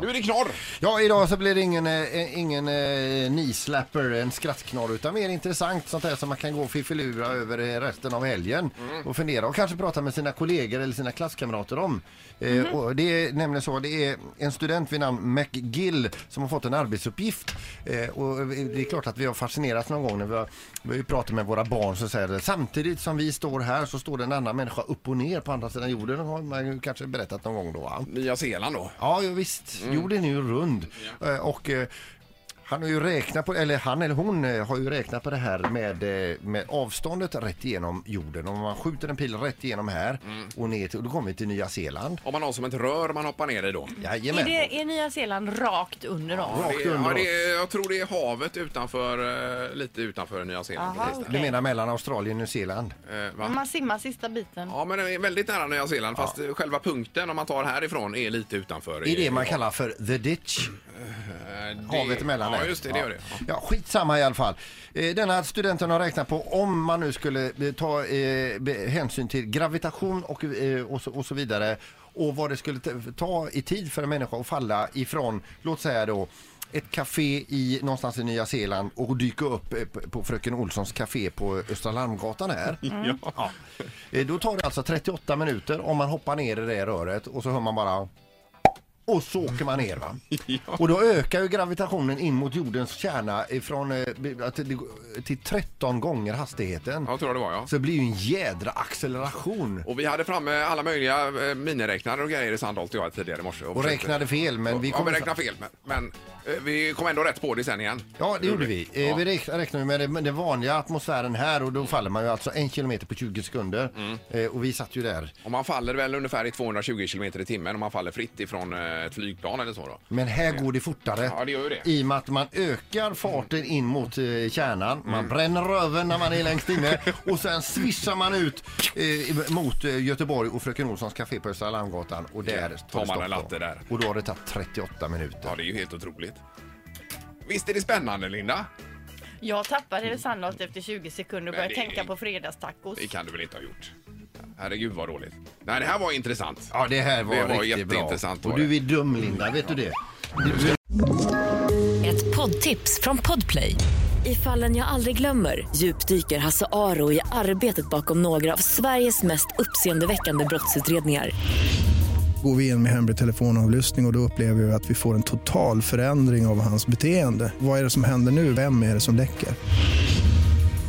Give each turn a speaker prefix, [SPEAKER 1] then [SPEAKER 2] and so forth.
[SPEAKER 1] Nu är det knorr!
[SPEAKER 2] Ja, idag så blir det ingen, eh, ingen eh, knee-slapper, en skrattknorr, utan mer intressant sånt här som man kan gå och fiffilura över eh, resten av helgen och fundera och kanske prata med sina kollegor eller sina klasskamrater om. Eh, och det är nämligen så, det är en student vid namn McGill som har fått en arbetsuppgift eh, och det är klart att vi har fascinerats någon gång när vi, har, vi pratar med våra barn så säger det, samtidigt som vi står här så står det en annan människa upp och ner på andra sidan jorden, har man ju kanske berättat någon gång då va?
[SPEAKER 1] Nya Zeeland då.
[SPEAKER 2] Ja, jo, visst.
[SPEAKER 3] Mm.
[SPEAKER 2] Jorden är ju rund. Eh, Och eh, han har ju räknat på, eller han eller hon eh, har ju räknat på det här med, eh, med avståndet rätt igenom jorden. Om man skjuter en pil rätt igenom här
[SPEAKER 3] Mm.
[SPEAKER 2] och ner till, och då kommer vi till Nya Zeeland.
[SPEAKER 1] Om man har som ett rör man hoppar ner i då.
[SPEAKER 2] Jajamän.
[SPEAKER 3] Är, det, är Nya Zeeland rakt under oss?
[SPEAKER 2] Rakt
[SPEAKER 1] Det, ja,
[SPEAKER 2] under
[SPEAKER 1] det,
[SPEAKER 2] oss.
[SPEAKER 1] är- jag tror det är havet utanför, eh, lite utanför Nya Zeeland.
[SPEAKER 3] Aha,
[SPEAKER 1] precis där.
[SPEAKER 2] Du
[SPEAKER 3] okej.
[SPEAKER 2] menar mellan Australien och Nya Zeeland?
[SPEAKER 1] Eh, va?
[SPEAKER 3] Om man simmar sista biten.
[SPEAKER 1] Ja, men det är väldigt nära Nya Zeeland fast eh, själva punkten om man tar härifrån är lite utanför.
[SPEAKER 2] Det är det man kallar för the ditch.
[SPEAKER 1] Eh, det-
[SPEAKER 2] Havet emellan
[SPEAKER 1] Ja,
[SPEAKER 2] där.
[SPEAKER 1] just det, det gör det. Ja.
[SPEAKER 2] Ja, skitsamma i alla fall. Eh, Denna studenten har räknat på om man nu skulle eh, ta eh, be- hänsyn till gravitation och, eh, och, så, och så vidare och vad det skulle t- ta i tid för en människa att falla ifrån, låt säga då ett café i, någonstans i Nya Zeeland och dyka upp eh, p- på Fröken Olssons café på Östra Larmgatan här.
[SPEAKER 1] Mm.
[SPEAKER 2] Ja. Eh, Då tar det alltså 38 minuter om man hoppar ner i det röret och så hör man bara och så åker man ner va? Och då ökar ju gravitationen in mot jordens kärna ifrån, eh, b- till, till 13 gånger hastigheten.
[SPEAKER 1] Jag tror det var, ja.
[SPEAKER 2] Så det blir ju en jädra acceleration.
[SPEAKER 1] Och vi hade framme alla möjliga eh, miniräknare och grejer i Sandholt och jag tidigare i morse.
[SPEAKER 2] Och
[SPEAKER 1] försökte-
[SPEAKER 2] räknade fel men vi
[SPEAKER 1] Ja, vi
[SPEAKER 2] kommer...
[SPEAKER 1] räknade fel, men, men eh, vi kom ändå rätt på det sen igen.
[SPEAKER 2] Ja, det gjorde vi. Eh,
[SPEAKER 1] Ja.
[SPEAKER 2] Vi räknar räknar ju med den- den vanliga atmosfären här och då faller man ju alltså en kilometer på 20 sekunder.
[SPEAKER 1] Mm.
[SPEAKER 2] Eh, Och vi satt ju där.
[SPEAKER 1] Och man faller väl ungefär i 220 kilometer i timmen om man faller fritt ifrån eh, ett flygplan eller så då.
[SPEAKER 2] Men här går det fortare.
[SPEAKER 1] Ja, det gör ju det.
[SPEAKER 2] I och med att man ökar farten in mot eh, kärnan.
[SPEAKER 1] Mm.
[SPEAKER 2] Man bränner röven när man är längst inne och sen swishar man ut eh, mot eh, Göteborg och Fröken Olssons café på Östra Lammgatan och där
[SPEAKER 1] Ja,
[SPEAKER 2] tar det
[SPEAKER 1] tar man
[SPEAKER 2] stopp
[SPEAKER 1] en
[SPEAKER 2] då.
[SPEAKER 1] latte där.
[SPEAKER 2] Och då har det tagit 38 minuter.
[SPEAKER 1] Ja, det är ju helt otroligt. Visst är det spännande, Linda?
[SPEAKER 3] Jag tappade det sannolikt efter 20 sekunder och
[SPEAKER 1] Men
[SPEAKER 3] började
[SPEAKER 1] det är-
[SPEAKER 3] tänka på fredagstacos.
[SPEAKER 1] Det kan du väl inte ha gjort? Herregud, vad roligt. Nej, det här var intressant.
[SPEAKER 2] Ja, det här var,
[SPEAKER 1] Det var
[SPEAKER 2] riktigt bra.
[SPEAKER 1] jätteintressant var Mm.
[SPEAKER 2] Och du är dum Linda, vet du det? Du,
[SPEAKER 4] Ett poddtips från Podplay. I fallen jag aldrig glömmer djupdyker Hasse Aro i arbetet bakom några av Sveriges mest uppseendeväckande brottsutredningar.
[SPEAKER 5] Går vi in med hemlig telefonavlyssning och, och då upplever vi att vi får en total förändring av hans beteende. Vad är det som händer nu? Vem är det som läcker?